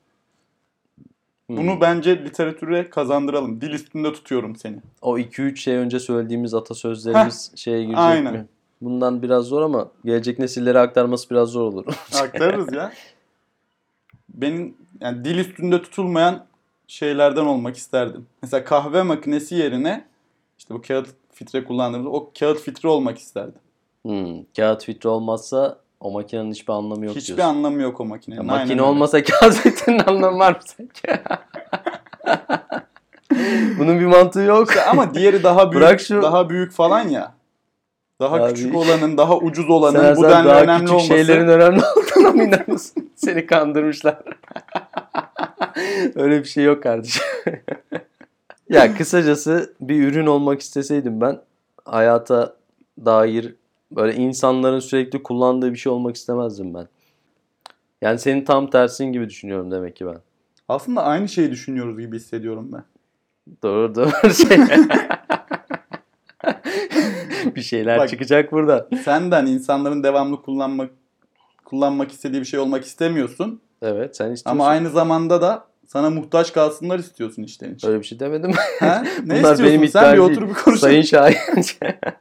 Speaker 2: Hmm.
Speaker 1: Bunu bence literatüre kazandıralım. Dil üstünde tutuyorum seni.
Speaker 2: O 2-3 şey önce söylediğimiz atasözlerimiz şeye girecek
Speaker 1: aynen.
Speaker 2: mi? Bundan biraz zor ama gelecek nesillere aktarması biraz zor olur.
Speaker 1: Aktarırız ya. Benim yani dil üstünde tutulmayan şeylerden olmak isterdim. Mesela kahve makinesi yerine işte bu kağıt filtre kullandığımız o kağıt filtre olmak isterdim.
Speaker 2: Hmm, kağıt filtre olmazsa o makinenin hiçbir anlamı yok
Speaker 1: Hiçbir
Speaker 2: diyorsun.
Speaker 1: anlamı yok o makinenin.
Speaker 2: Ya
Speaker 1: Aynen
Speaker 2: makine
Speaker 1: öyle.
Speaker 2: olmasa kağıt filtrenin anlamı var mı sanki? Bunun bir mantığı yok.
Speaker 1: İşte ama diğeri daha büyük,
Speaker 2: Bırak şu-
Speaker 1: daha büyük falan ya. Daha
Speaker 2: Daha
Speaker 1: küçük
Speaker 2: büyük.
Speaker 1: olanın, daha ucuz olanın
Speaker 2: Sen
Speaker 1: bu
Speaker 2: Ersan,
Speaker 1: denli
Speaker 2: daha
Speaker 1: önemli
Speaker 2: küçük
Speaker 1: olması.
Speaker 2: şeylerin önemli olduğuna mı inanıyorsun? Seni kandırmışlar. Öyle bir şey yok kardeşim. ya kısacası bir ürün olmak isteseydim ben hayata dair böyle insanların sürekli kullandığı bir şey olmak istemezdim ben. Yani senin tam tersin gibi düşünüyorum demek ki ben.
Speaker 1: Aslında aynı şeyi düşünüyoruz gibi hissediyorum ben.
Speaker 2: Doğru doğru şey. bir şeyler
Speaker 1: Bak.
Speaker 2: çıkacak buradan.
Speaker 1: Senden insanların devamlı kullanmak kullanmak istediği bir şey olmak istemiyorsun.
Speaker 2: Evet sen istiyorsun.
Speaker 1: Ama aynı zamanda da sana muhtaç kalsınlar istiyorsun işten için.
Speaker 2: Öyle bir şey demedim.
Speaker 1: Ha? Ne
Speaker 2: Bunlar
Speaker 1: istiyorsun?
Speaker 2: benim
Speaker 1: Sen bir
Speaker 2: iddiam
Speaker 1: otur bir konuş.
Speaker 2: Sayın Şahin.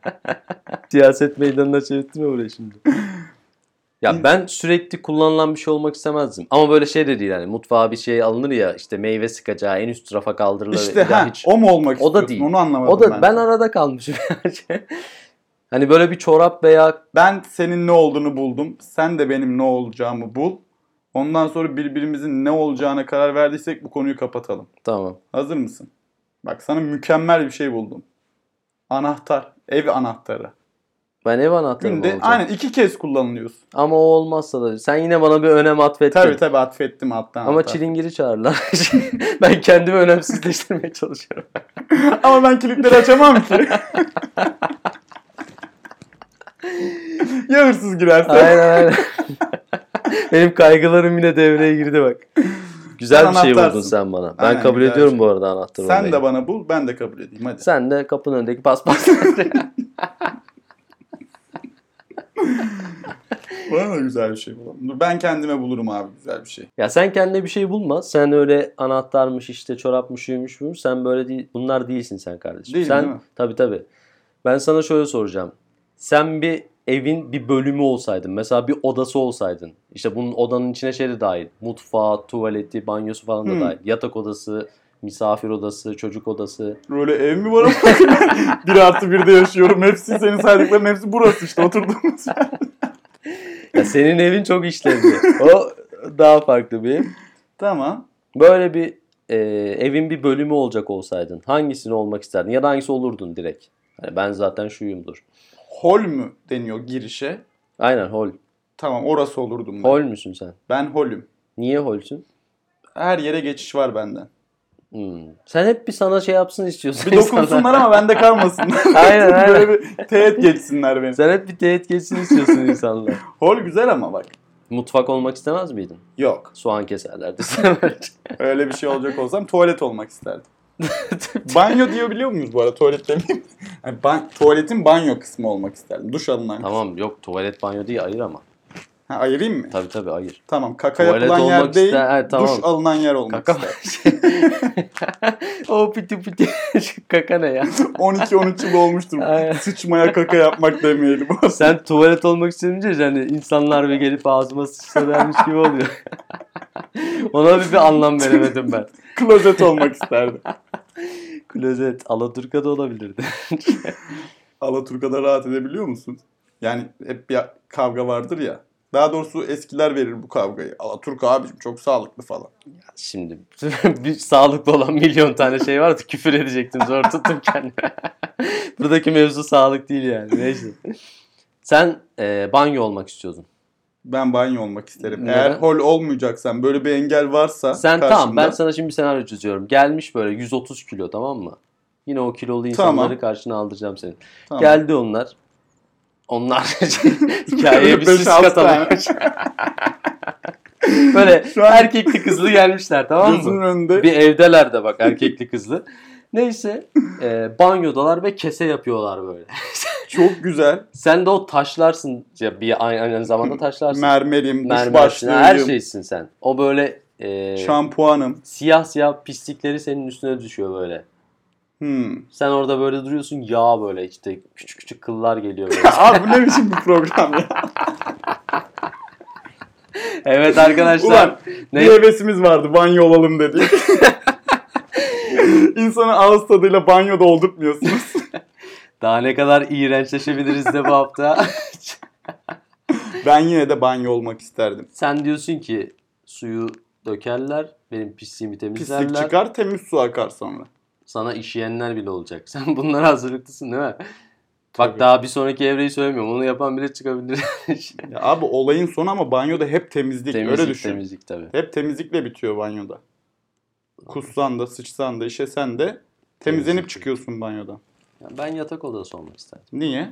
Speaker 2: Siyaset meydanına çevirtme burayı şimdi. Ya ben sürekli kullanılan bir şey olmak istemezdim. Ama böyle şey de değil yani mutfağa bir şey alınır ya işte meyve sıkacağı en üst rafa kaldırılır.
Speaker 1: İşte
Speaker 2: ya
Speaker 1: ha,
Speaker 2: hiç.
Speaker 1: o mu olmak
Speaker 2: O da
Speaker 1: istiyorsun?
Speaker 2: değil.
Speaker 1: Onu anlamadım
Speaker 2: O da ben,
Speaker 1: ben. Ben,
Speaker 2: arada kalmışım. hani böyle bir çorap veya
Speaker 1: senin ne olduğunu buldum. Sen de benim ne olacağımı bul. Ondan sonra birbirimizin ne olacağına karar verdiysek bu konuyu kapatalım.
Speaker 2: tamam.
Speaker 1: Hazır mısın? Bak sana mükemmel bir şey buldum. Anahtar. Ev anahtarı.
Speaker 2: Ben ev anahtarı
Speaker 1: Günde
Speaker 2: olacağım.
Speaker 1: aynen iki kez kullanılıyorsun. E,
Speaker 2: Ama o olmazsa da sen yine bana bir önem atfettin.
Speaker 1: Tabii tabii atfettim hatta.
Speaker 2: Ama çilingiri çağırlar. ben kendimi önemsizleştirmeye çalışıyorum.
Speaker 1: Ama ben kilitleri açamam ki. ya hırsız girerse?
Speaker 2: Aynen aynen. Benim kaygılarım yine devreye girdi bak. Güzel
Speaker 1: Sen
Speaker 2: bir şey buldun
Speaker 1: anahtarsın.
Speaker 2: sen bana. Ben
Speaker 1: Aynen,
Speaker 2: kabul
Speaker 1: güzel
Speaker 2: ediyorum
Speaker 1: şey.
Speaker 2: bu arada anahtarı.
Speaker 1: Sen
Speaker 2: olayı.
Speaker 1: de bana bul, ben de kabul edeyim. Hadi.
Speaker 2: Sen de kapının önündeki paspas.
Speaker 1: Bana da güzel bir şey bulalım. Dur ben kendime bulurum abi güzel bir şey.
Speaker 2: ya sen kendine bir şey bulma. Sen öyle anahtarmış işte çorapmış şuymuş buymuş. Sen böyle değil. Bunlar değilsin sen kardeşim.
Speaker 1: Değilim,
Speaker 2: sen
Speaker 1: değil mi?
Speaker 2: tabii tabii. Ben sana şöyle soracağım. Sen bir evin bir bölümü olsaydın. Mesela bir odası olsaydın. İşte bunun odanın içine şey de dahil. Mutfağı, tuvaleti, banyosu falan da
Speaker 1: Hmm.
Speaker 2: dahil. Yatak odası, misafir odası, çocuk odası.
Speaker 1: Böyle ev mi var ama? bir artı birde yaşıyorum. Hepsi senin saydıkların hepsi burası işte oturduğumuz yer.
Speaker 2: Ya senin evin çok işlevli. O daha farklı bir ev.
Speaker 1: Tamam.
Speaker 2: Böyle bir e, evin bir bölümü olacak olsaydın hangisini olmak isterdin ya da hangisi olurdun direkt? Hani ben zaten şuyumdur.
Speaker 1: Hol mü deniyor girişe?
Speaker 2: Aynen hol.
Speaker 1: Tamam orası olurdum ben.
Speaker 2: Hol müsün sen?
Speaker 1: Ben holüm.
Speaker 2: Niye holsün?
Speaker 1: Her yere geçiş var benden.
Speaker 2: Hmm. Sen hep bir sana şey yapsın istiyorsun.
Speaker 1: Bir dokunsunlar ama bende kalmasınlar.
Speaker 2: Aynen, aynen.
Speaker 1: Böyle bir teğet geçsinler beni.
Speaker 2: Sen hep bir teğet geçsin istiyorsun insanlar.
Speaker 1: Hol güzel ama bak.
Speaker 2: Mutfak olmak istemez miydin?
Speaker 1: Yok.
Speaker 2: Soğan keserlerdi sana.
Speaker 1: Öyle bir şey olacak olsam tuvalet olmak isterdim. banyo diyebiliyor muyuz bu arada? Tuvalet demeyeyim. Yani ban- tuvaletin banyo kısmı olmak isterdim. Duş alınan kısmı.
Speaker 2: tamam yok tuvalet banyo değil ayır ama.
Speaker 1: Ha, ayırayım mı?
Speaker 2: Tabii tabii ayır.
Speaker 1: Tamam. Kaka
Speaker 2: Tuvalet
Speaker 1: yapılan
Speaker 2: olmak
Speaker 1: yer değil,
Speaker 2: ister- evet, tamam.
Speaker 1: duş alınan yer olmak
Speaker 2: Kaka
Speaker 1: isterdim.
Speaker 2: o piti piti kaka ne ya?
Speaker 1: 12-13 yıl olmuştur.
Speaker 2: Aynen.
Speaker 1: Sıçmaya kaka yapmak demeyelim.
Speaker 2: Sen tuvalet olmak istemeyince hani insanlar bir gelip ağzıma sıçsa dermiş gibi oluyor. Ona bir, bir anlam veremedim ben.
Speaker 1: Klozet olmak isterdim.
Speaker 2: Klozet, Alaturka da olabilirdi.
Speaker 1: Alaturka'da rahat edebiliyor musun? Yani hep bir kavga vardır ya. Daha doğrusu eskiler verir bu kavgayı. Alaturka abicim çok sağlıklı falan.
Speaker 2: Şimdi bir sağlıklı olan milyon tane şey vardı küfür edecektim zor tuttum kendimi. Buradaki mevzu sağlık değil yani neyse. Sen e, banyo olmak istiyordun.
Speaker 1: Ben banyo olmak isterim.
Speaker 2: Neden?
Speaker 1: Eğer hol olmayacaksan böyle bir engel varsa
Speaker 2: Sen
Speaker 1: karşında,
Speaker 2: tamam ben sana şimdi bir senaryo çiziyorum. Gelmiş böyle 130 kilo tamam mı? Yine o kilolu insanları
Speaker 1: Tamam.
Speaker 2: karşına aldıracağım seni.
Speaker 1: Tamam.
Speaker 2: Geldi onlar. Onlar hikayeye bir
Speaker 1: Beş,
Speaker 2: süs
Speaker 1: altı
Speaker 2: katalım. Böyle
Speaker 1: Şu an-
Speaker 2: erkekli kızlı gelmişler tamam
Speaker 1: Gözünün
Speaker 2: mı?
Speaker 1: önünde
Speaker 2: Bir evdeler de bak erkekli kızlı. Neyse e, banyodalar ve kese yapıyorlar böyle.
Speaker 1: çok güzel
Speaker 2: Sen de o taşlarsın ya bir aynı, aynı zamanda taşlarsın.
Speaker 1: mermerim, duş
Speaker 2: Mermersin, her
Speaker 1: başlığım,
Speaker 2: şeysin sen. O böyle e,
Speaker 1: şampuanım.
Speaker 2: siyah siyah pislikleri senin üstüne düşüyor böyle.
Speaker 1: Hmm.
Speaker 2: Sen orada böyle duruyorsun yağ böyle işte küçük küçük kıllar geliyor böyle.
Speaker 1: Abi bu ne biçim bir program ya?
Speaker 2: evet arkadaşlar.
Speaker 1: Ulan
Speaker 2: ne-
Speaker 1: bir hevesimiz vardı banyo olalım dedi. İnsanı ağız tadıyla banyoda oldurtmuyorsunuz.
Speaker 2: Daha ne kadar iğrençleşebiliriz de bu hafta.
Speaker 1: Ben yine de banyo olmak isterdim.
Speaker 2: Sen diyorsun ki suyu dökerler, benim pisliğimi temizlerler.
Speaker 1: Pislik çıkar temiz su akar sonra.
Speaker 2: Sana işeyenler bile olacak. Sen bunlara hazırlıklısın değil mi?
Speaker 1: Tabii.
Speaker 2: Bak daha bir sonraki evreyi söylemiyorum. Onu yapan bile çıkabilir.
Speaker 1: Ya abi olayın sonu ama banyoda hep temizlik. Öyle
Speaker 2: temizlik,
Speaker 1: düşün.
Speaker 2: temizlik tabii.
Speaker 1: Hep temizlikle bitiyor banyoda. Kussan da sıçsan da işesen de temizlenip
Speaker 2: Temizlik.
Speaker 1: çıkıyorsun banyodan.
Speaker 2: Ya ben yatak odası olmak isterdim.
Speaker 1: Niye?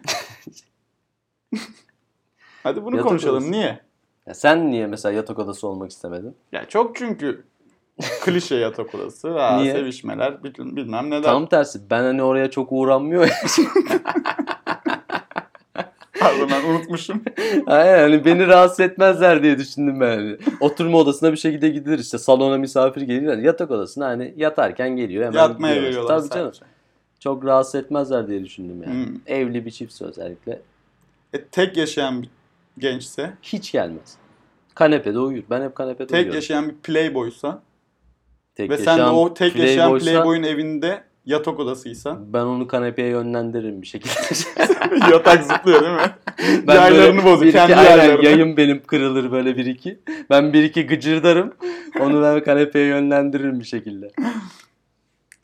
Speaker 1: Hadi bunu
Speaker 2: Yatak
Speaker 1: konuşalım.
Speaker 2: odası.
Speaker 1: Niye?
Speaker 2: Ya sen niye mesela yatak odası olmak istemedin?
Speaker 1: Ya çok çünkü klişe yatak odası. Ha,
Speaker 2: Niye?
Speaker 1: Sevişmeler bil- bilmem neler.
Speaker 2: Tam tersi. Ben hani oraya çok uğranmıyor. ya.
Speaker 1: Pardon ben unutmuşum.
Speaker 2: Aynen hani beni rahatsız etmezler diye düşündüm ben. hani. Oturma odasına bir şekilde gidilir işte salona misafir gelir. Hani yatak odasına hani yatarken geliyor hemen
Speaker 1: Yatmaya
Speaker 2: gidiyor.
Speaker 1: geliyorlar
Speaker 2: Tabii canım.
Speaker 1: sadece.
Speaker 2: Çok rahatsız etmezler diye düşündüm yani.
Speaker 1: Hmm.
Speaker 2: Evli bir çiftse özellikle
Speaker 1: E, tek yaşayan bir gençse,
Speaker 2: hiç gelmez. Kanepede uyur. Ben hep kanepede
Speaker 1: tek
Speaker 2: uyuyorum.
Speaker 1: yaşayan bir playboysa
Speaker 2: tek
Speaker 1: ve sen de o tek yaşayan
Speaker 2: playboysa
Speaker 1: playboyun evinde yatak odasıysan
Speaker 2: Ben onu kanepeye yönlendiririm bir şekilde.
Speaker 1: Yatak zıplıyor değil mi?
Speaker 2: ben
Speaker 1: Yaylarını bozuyor,
Speaker 2: bir iki-
Speaker 1: kendi
Speaker 2: aynen,
Speaker 1: yaylarını.
Speaker 2: Yayım benim kırılır böyle bir iki. Ben bir iki gıcırdarım. Onu ben kanepeye yönlendiririm bir şekilde.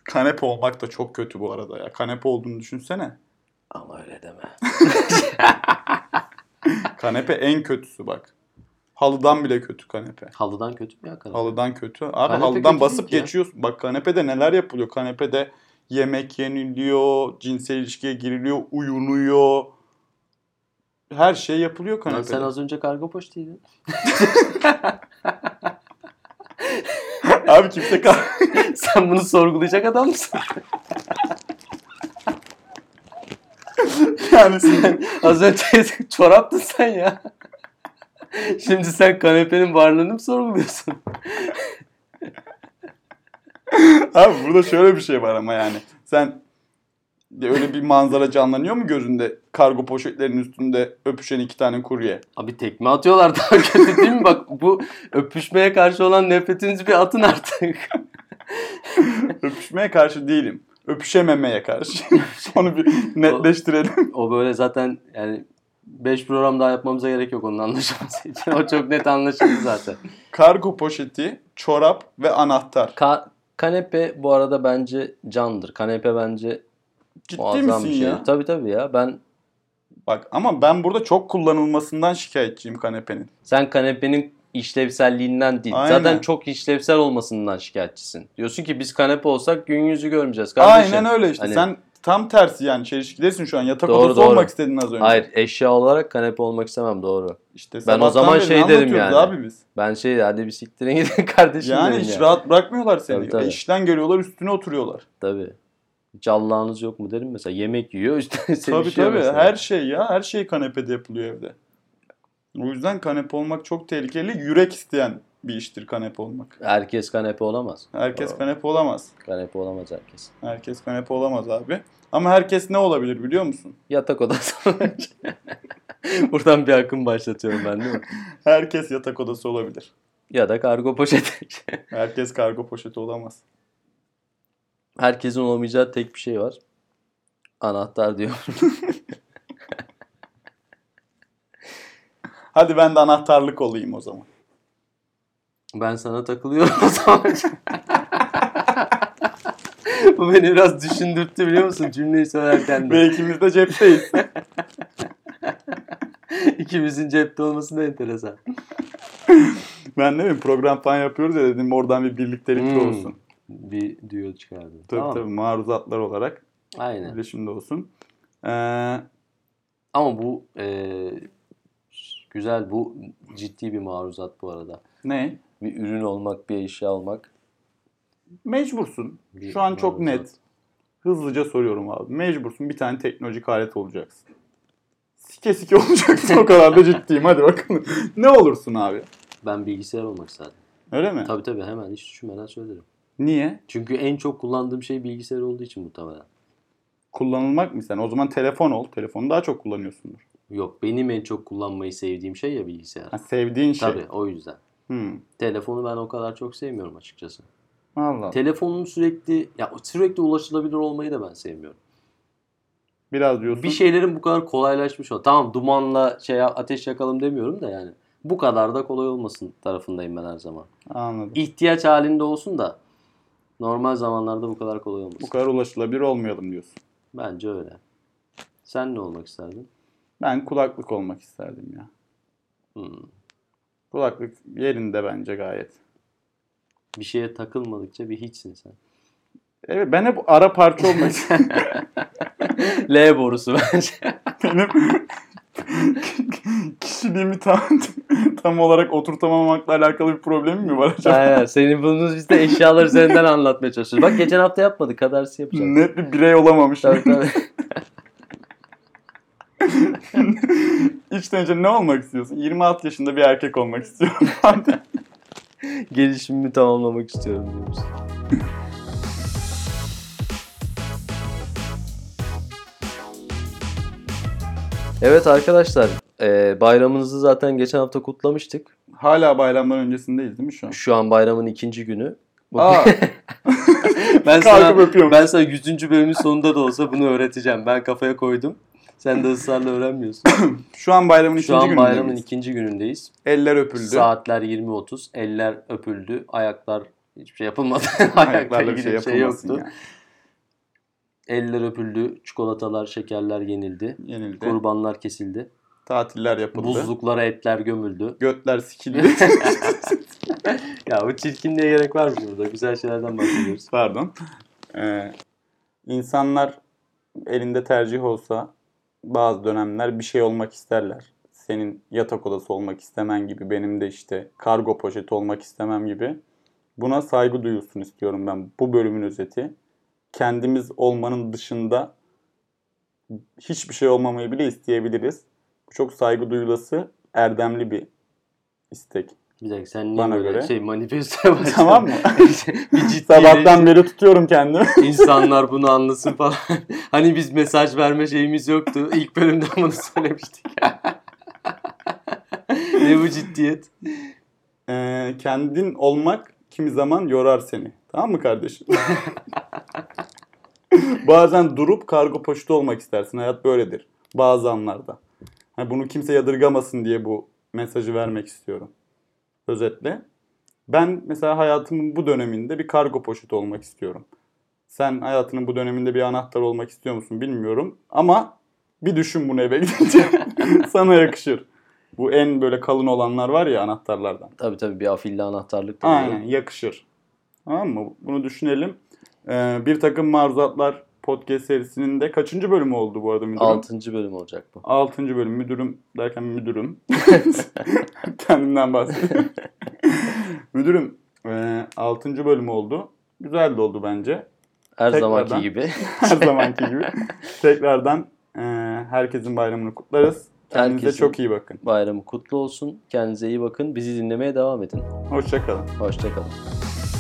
Speaker 1: Kanepe olmak da çok kötü bu arada ya. Kanepe olduğunu düşünsene.
Speaker 2: Ama öyle deme.
Speaker 1: Kanepe en kötüsü bak. Halıdan bile kötü kanepe.
Speaker 2: Halıdan kötü mü ya kanepe?
Speaker 1: Halıdan kötü. Abi
Speaker 2: Kanepe
Speaker 1: halıdan
Speaker 2: kötü
Speaker 1: basıp
Speaker 2: değil ki ya.
Speaker 1: geçiyorsun. Bak kanepede neler yapılıyor. Kanepede yemek yeniliyor, cinsel ilişkiye giriliyor, uyunuyor. Her şey yapılıyor
Speaker 2: Lan
Speaker 1: kanepede.
Speaker 2: sen az önce karga poştuydun.
Speaker 1: Abi kimse kan-
Speaker 2: sen bunu sorgulayacak adam mısın?
Speaker 1: yani
Speaker 2: az önce çoraptın sen ya. Şimdi sen kanepenin varlığını mı sorguluyorsun?
Speaker 1: Abi burada şöyle bir şey var ama yani. Sen de öyle bir manzara canlanıyor mu gözünde? Kargo poşetlerinin üstünde öpüşen iki tane kurye.
Speaker 2: Abi tekme atıyorlar daha kötü değil mi? Bak bu öpüşmeye karşı olan nefretinizi bir atın artık.
Speaker 1: Öpüşmeye karşı değilim. Öpüşememeye karşı. Onu bir netleştirelim.
Speaker 2: o böyle zaten yani 5 program daha yapmamıza gerek yok onun anlaşılması için. O çok net anlaşıldı zaten.
Speaker 1: Kargo poşeti, çorap ve anahtar.
Speaker 2: Ka- kanepe bu arada bence candır. Kanepe bence
Speaker 1: Ciddi
Speaker 2: muazzam
Speaker 1: misin
Speaker 2: bir şey.
Speaker 1: ya?
Speaker 2: Tabii tabii ya. Ben
Speaker 1: Bak ama ben burada çok kullanılmasından şikayetçiyim kanepenin.
Speaker 2: sen kanepenin işlevselliğinden değil.
Speaker 1: Aynen.
Speaker 2: Zaten çok işlevsel olmasından şikayetçisin. Diyorsun ki biz kanepe olsak gün yüzü görmeyeceğiz kardeşim.
Speaker 1: Aynen öyle işte.
Speaker 2: Hani-
Speaker 1: Sen tam tersi yani çelişkidesin şu an. Yatak
Speaker 2: Doğru,
Speaker 1: odası
Speaker 2: doğru.
Speaker 1: olmak istedin az önce.
Speaker 2: Hayır eşya olarak kanepe olmak istemem doğru.
Speaker 1: İşte sabahtan
Speaker 2: zaman
Speaker 1: beri
Speaker 2: şey
Speaker 1: ne
Speaker 2: derim
Speaker 1: anlatıyoruz
Speaker 2: yani.
Speaker 1: Abi biz.
Speaker 2: Ben şey hadi bir siktirin gidin kardeşim
Speaker 1: Yani
Speaker 2: dedim
Speaker 1: hiç rahat bırakmıyorlar seni.
Speaker 2: Tabii, tabii.
Speaker 1: İşten geliyorlar üstüne oturuyorlar.
Speaker 2: Tabii. Hiç Allah'ınız yok mu derim mesela. Yemek yiyor üstüne sevişiyor
Speaker 1: Tabii tabii
Speaker 2: mesela.
Speaker 1: her şey ya her şey kanepede yapılıyor evde. O yüzden kanepe olmak çok tehlikeli. Yürek isteyen bir iştir kanepe olmak.
Speaker 2: Herkes kanepe olamaz.
Speaker 1: Herkes
Speaker 2: Aa.
Speaker 1: kanepe olamaz.
Speaker 2: Kanepe olamaz herkes.
Speaker 1: Herkes kanepe olamaz abi. Ama herkes ne olabilir biliyor musun?
Speaker 2: Yatak odası olacak. Buradan bir akım başlatıyorum ben değil mi?
Speaker 1: Herkes yatak odası olabilir.
Speaker 2: Ya da kargo poşeti.
Speaker 1: Herkes kargo poşeti olamaz.
Speaker 2: Herkesin olamayacağı tek bir şey var. Anahtar diyor.
Speaker 1: Hadi ben de anahtarlık olayım o zaman.
Speaker 2: Ben sana takılıyorum o zaman. Bu beni biraz düşündürttü biliyor musun cümleyi söylerken de.
Speaker 1: Ve ikimiz de cepteyiz.
Speaker 2: İkimizin cepte olması da enteresan.
Speaker 1: ben ne bileyim program falan yapıyoruz ya dedim oradan bir birliktelik de
Speaker 2: Hmm.
Speaker 1: olsun.
Speaker 2: Bir diyor çıkardı.
Speaker 1: Tabii
Speaker 2: Tamam.
Speaker 1: tabii maruzatlar olarak
Speaker 2: Aynen.
Speaker 1: birleşimde olsun. Ee,
Speaker 2: Ama bu eee, güzel, bu ciddi bir maruzat bu arada.
Speaker 1: ne?
Speaker 2: Bir ürün olmak, bir eşya olmak.
Speaker 1: Mecbursun.
Speaker 2: Bir
Speaker 1: Şu an çok
Speaker 2: maruzat.
Speaker 1: net. Hızlıca soruyorum abi. Mecbursun bir tane teknolojik alet olacaksın. Sike sike olacaksın o kadar da ciddiyim. Hadi bakalım. ne olursun abi?
Speaker 2: Ben bilgisayar olmak isterdim.
Speaker 1: Öyle mi?
Speaker 2: Tabii tabii hemen hiç düşünmeden söylerim.
Speaker 1: Niye?
Speaker 2: Çünkü en çok kullandığım şey bilgisayar olduğu için muhtemelen.
Speaker 1: Kullanılmak mı sen? O zaman telefon ol. Telefonu daha çok kullanıyorsundur.
Speaker 2: Yok benim en çok kullanmayı sevdiğim şey ya bilgisayar.
Speaker 1: Ha, sevdiğin şey.
Speaker 2: Tabii o yüzden.
Speaker 1: Hmm.
Speaker 2: Telefonu ben o kadar çok sevmiyorum açıkçası.
Speaker 1: Allah. Allah.
Speaker 2: Telefonun sürekli ya sürekli ulaşılabilir olmayı da ben sevmiyorum.
Speaker 1: Biraz diyorsun.
Speaker 2: Bir şey- şeylerin bu kadar kolaylaşmış ol. Tamam dumanla şey ateş yakalım demiyorum da yani. Bu kadar da kolay olmasın tarafındayım ben her zaman.
Speaker 1: Anladım.
Speaker 2: İhtiyaç halinde olsun da normal zamanlarda bu kadar kolay olmasın.
Speaker 1: Bu kadar ulaşılabilir olmayalım diyorsun.
Speaker 2: Bence öyle. Sen ne olmak isterdin?
Speaker 1: Ben kulaklık olmak isterdim ya.
Speaker 2: Hmm.
Speaker 1: Kulaklık yerinde bence gayet.
Speaker 2: Bir şeye takılmadıkça bir hiçsin sen.
Speaker 1: Evet ben hep ara parça olmak istiyorum.
Speaker 2: L borusu bence.
Speaker 1: Benim kişiliğimi tam, tam olarak oturtamamakla alakalı bir problemim mi var acaba?
Speaker 2: Aynen. Senin bulunduğunuz biz de eşyalar üzerinden anlatmaya çalışıyoruz. Bak geçen hafta yapmadık. Kadarsı yapacağız.
Speaker 1: Net bir birey olamamışım.
Speaker 2: Tabii tabii.
Speaker 1: İçten içe ne olmak istiyorsun? 26 yaşında bir erkek olmak istiyorum.
Speaker 2: Gelişimimi tamamlamak istiyorum diyoruz. Evet arkadaşlar e, bayramınızı zaten geçen hafta kutlamıştık.
Speaker 1: Hala bayramdan öncesindeyiz değil mi şu an?
Speaker 2: Şu an bayramın ikinci günü. Bu-
Speaker 1: Aa,
Speaker 2: ben
Speaker 1: kalkıp öpüyorum.
Speaker 2: ben sana 100. bölümün sonunda da olsa bunu öğreteceğim. Ben kafaya koydum. Sen de ısrarla öğrenmiyorsun.
Speaker 1: Şu an bayramın
Speaker 2: Şu
Speaker 1: ikinci
Speaker 2: an
Speaker 1: günündeyiz.
Speaker 2: bayramın ikinci günündeyiz.
Speaker 1: Eller öpüldü.
Speaker 2: Saatler 20.30. Eller öpüldü. Ayaklar hiçbir şey yapılmadı.
Speaker 1: Ayaklarla bir şey
Speaker 2: ilgili
Speaker 1: yapılmasın ya.
Speaker 2: Eller öpüldü. Çikolatalar, şekerler yenildi.
Speaker 1: Yenildi.
Speaker 2: Kurbanlar kesildi.
Speaker 1: Tatiller yapıldı.
Speaker 2: Buzluklara etler gömüldü.
Speaker 1: Götler sikildi.
Speaker 2: Ya bu çirkinliğe gerek var mı burada? Güzel şeylerden bahsediyoruz.
Speaker 1: Pardon. Ee, insanlar elinde tercih olsa bazı dönemler bir şey olmak isterler. Senin yatak odası olmak istemen gibi, benim de işte kargo poşeti olmak istemem gibi. Buna saygı duyulsun istiyorum ben. Bu bölümün özeti. Kendimiz olmanın dışında hiçbir şey olmamayı bile isteyebiliriz. Bu çok saygı duyulası, erdemli bir istek.
Speaker 2: Bir dakika sen niye
Speaker 1: Bana
Speaker 2: böyle
Speaker 1: göre.
Speaker 2: şey manifestoya başladın?
Speaker 1: Tamam mı?
Speaker 2: bir ciddileştin.
Speaker 1: Sabahtan beri tutuyorum kendimi.
Speaker 2: İnsanlar bunu anlasın falan. hani biz mesaj verme şeyimiz yoktu. İlk bölümde bunu söylemiştik. ne bu ciddiyet?
Speaker 1: Ee, kendin olmak kimi zaman yorar seni. Tamam mı kardeşim? Bazen durup kargo poşeti olmak istersin. Hayat böyledir. Bazı anlarda. Hani bunu kimse yadırgamasın diye bu mesajı vermek istiyorum. Özetle. Ben mesela hayatımın bu döneminde bir kargo poşeti olmak istiyorum. Sen hayatının bu döneminde bir anahtar olmak istiyor musun bilmiyorum. Ama bir düşün bunu eve gidince. Sana yakışır. Bu en böyle kalın olanlar var ya anahtarlardan.
Speaker 2: Tabii tabii bir afilli anahtarlık da
Speaker 1: Aynen
Speaker 2: Aynen.
Speaker 1: yakışır. Tamam mı? Bunu düşünelim. Ee, bir takım maruzatlar podcast serisinin de kaçıncı bölümü oldu bu arada müdürüm?
Speaker 2: 6. bölüm olacak bu.
Speaker 1: Altıncı bölüm. Müdürüm derken müdürüm. Kendimden bahsediyorum. müdürüm e, altıncı bölüm oldu. Güzel de oldu bence.
Speaker 2: Her
Speaker 1: Tekrardan.
Speaker 2: zamanki gibi.
Speaker 1: Her zamanki gibi. Tekrardan e, herkesin bayramını kutlarız. Kendinize
Speaker 2: Herkesin.
Speaker 1: çok iyi bakın.
Speaker 2: Bayramı kutlu olsun. Kendinize iyi bakın. Bizi dinlemeye devam edin.
Speaker 1: Hoşçakalın.
Speaker 2: Hoşçakalın.